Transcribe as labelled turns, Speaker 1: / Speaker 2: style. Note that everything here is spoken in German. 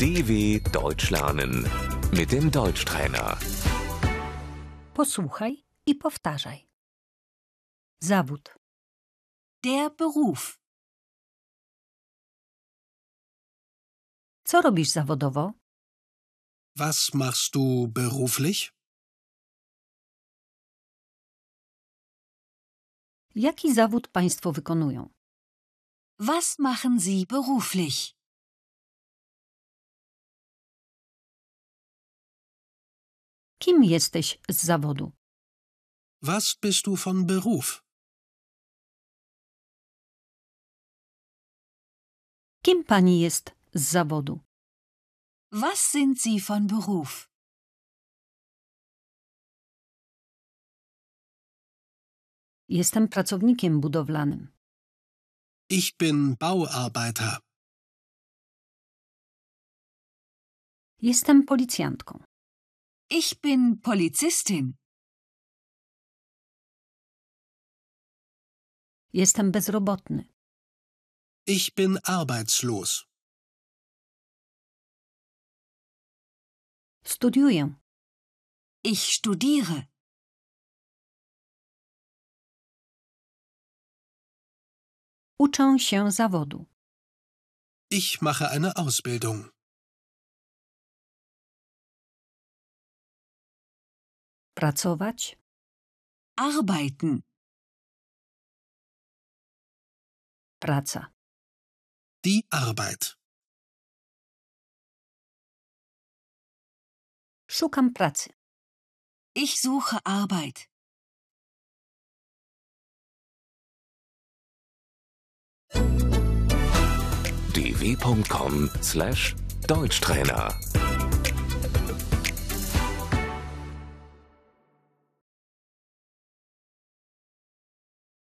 Speaker 1: DW Deutsch lernen mit dem Deutschtrainer.
Speaker 2: Posłuchaj i powtarzaj. Zawód,
Speaker 3: Der Beruf.
Speaker 2: co robisz zawodowo?
Speaker 4: Was machst du beruflich?
Speaker 2: Jaki zawód Państwo wykonują?
Speaker 3: Was machen Sie beruflich?
Speaker 2: Kim jesteś z zawodu?
Speaker 4: Was bist du von Beruf?
Speaker 2: Kim Pani jest z zawodu?
Speaker 3: Was sind Sie von Beruf?
Speaker 2: Jestem pracownikiem budowlanym.
Speaker 4: Ich bin Bauarbeiter.
Speaker 2: Jestem policjantką.
Speaker 3: Ich bin Polizistin.
Speaker 2: Jestem bezrobotny.
Speaker 4: Ich bin arbeitslos.
Speaker 2: Studiuję.
Speaker 3: Ich studiere.
Speaker 2: Uczę się zawodu.
Speaker 4: Ich mache eine Ausbildung.
Speaker 2: Pracować,
Speaker 3: Arbeiten.
Speaker 2: praca.
Speaker 4: Die Arbeit.
Speaker 2: Szukam pracy.
Speaker 3: Ich suche Arbeit.
Speaker 1: dw.com/deutschtrainer